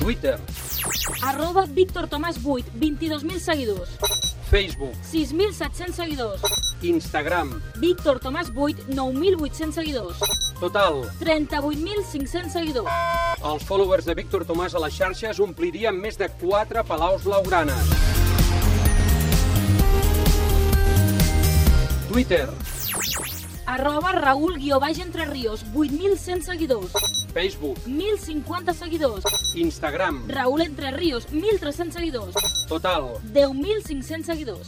Twitter, Arroba Víctor Tomàs 8, 22.000 seguidors. Facebook, 6.700 seguidors. Instagram. Víctor Tomàs 8, 9.800 seguidors. Total, 38.500 seguidors. els followers de Víctor Tomàs a les xarxes omplirien més de 4 palaus blaugranes. Twitter, Arroba Raül guió baix entre rios, 8.100 seguidors. Facebook, 1.050 seguidors. Instagram. Raül entre rios, 1.300 seguidors. Total, 10.500 seguidors.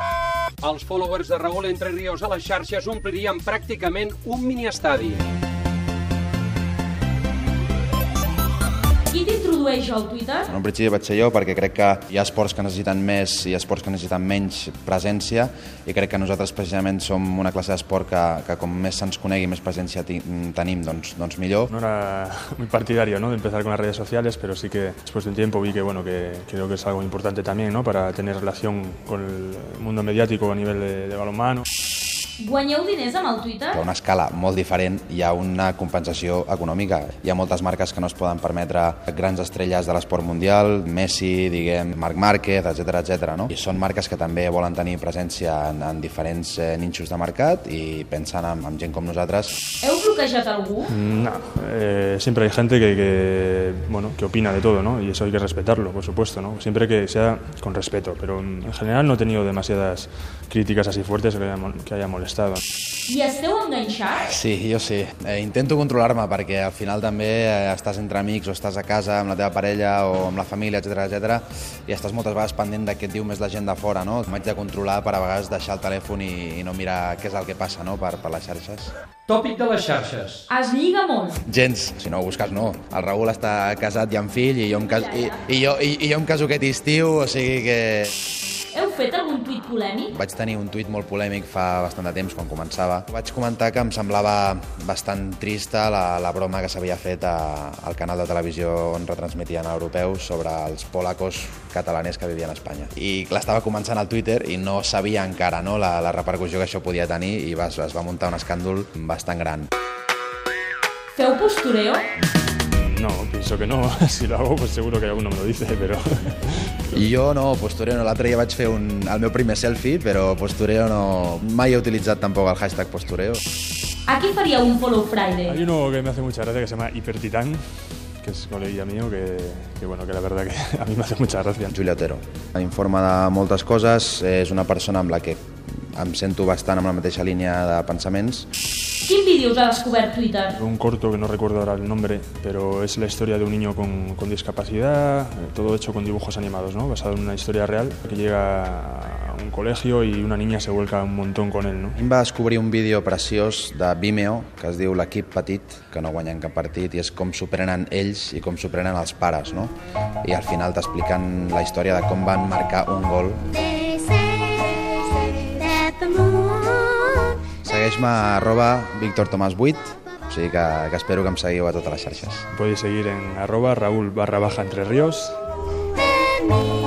Els followers de Raül Entre Ríos a les xarxes omplirien pràcticament un miniestadi. Qui t'introdueix al Twitter? En un principi vaig ser jo perquè crec que hi ha esports que necessiten més i esports que necessiten menys presència i crec que nosaltres precisament som una classe d'esport que, que com més se'ns conegui, més presència ti- tenim, doncs, doncs millor. No era muy partidario ¿no? de empezar con las redes sociales, pero sí que después de un tiempo vi que, bueno, que creo que es algo importante también ¿no? para tener relación con el mundo mediático a nivel de, de balonmano. Guanyeu diners amb el Twitter? a una escala molt diferent hi ha una compensació econòmica. Hi ha moltes marques que no es poden permetre grans estrelles de l'esport mundial, Messi, diguem, Marc Márquez, etc etc. no? I són marques que també volen tenir presència en, en diferents eh, ninxos de mercat i pensen en, en gent com nosaltres Heu bloquejat algú? Mm, nah, eh, siempre hay gente que, que, bueno, que opina de todo, ¿no? Y eso hay que respetarlo, por supuesto, ¿no? Siempre que sea con respeto, pero mm, en general no he tenido demasiadas críticas así fuertes que haya mol- que haya molestado. I esteu enganxats? Sí, jo sí. Eh, intento controlar-me perquè al final també eh, estàs entre amics o estàs a casa amb la teva parella o amb la família, etc etc. i estàs moltes vegades pendent de què et diu més la gent de fora, no? M'haig de controlar per a vegades deixar el telèfon i, i no mirar què és el que passa, no?, per, per les xarxes. Tòpic de les xarxes. Es lliga molt. Gens, si no ho busques, no. El Raül està casat i amb fill i jo em, cas i, i, jo, i, i jo em caso aquest estiu, o sigui que... Heu fet algun tuit polèmic? Vaig tenir un tuit molt polèmic fa bastant de temps, quan començava. Vaig comentar que em semblava bastant trista la, la broma que s'havia fet a, al canal de televisió on retransmetien a europeu sobre els polacos catalaners que vivien a Espanya. I l'estava començant al Twitter i no sabia encara no, la, la repercussió que això podia tenir i va, es va muntar un escàndol bastant gran. Feu postureo? No, pienso que no. Si lo hago, pues seguro que alguno me lo dice, pero I jo no, postureo no. L'altre dia vaig fer un, el meu primer selfie, però postureo no... Mai he utilitzat tampoc el hashtag postureo. A qui faríeu un follow Hay Friday? uno que me hace mucha gracia que se llama Hipertitán, que es colega mío, que, que bueno, que la verdad que a mí me hace mucha gracia. Júlia Otero. Informa de moltes coses, és una persona amb la que em sento bastant amb la mateixa línia de pensaments. Quin vídeo us ha descobert Twitter? Un corto que no recuerdo ahora el nombre, pero es la historia de un niño con, con discapacidad, eh, todo hecho con dibujos animados, ¿no? basado en una historia real, que llega a un colegio y una niña se vuelca un montón con él. ¿no? Em va descobrir un vídeo preciós de Vimeo que es diu L'equip petit, que no guanyen cap partit, i és com s'ho prenen ells i com s'ho prenen els pares, no? I al final t'expliquen la història de com van marcar un gol. They say that the moon Segueix-me a arroba Víctor Tomàs 8, o sigui que, que espero que em seguiu a totes les xarxes. Podéis seguir en arroba raúl barra baja entre ríos and me.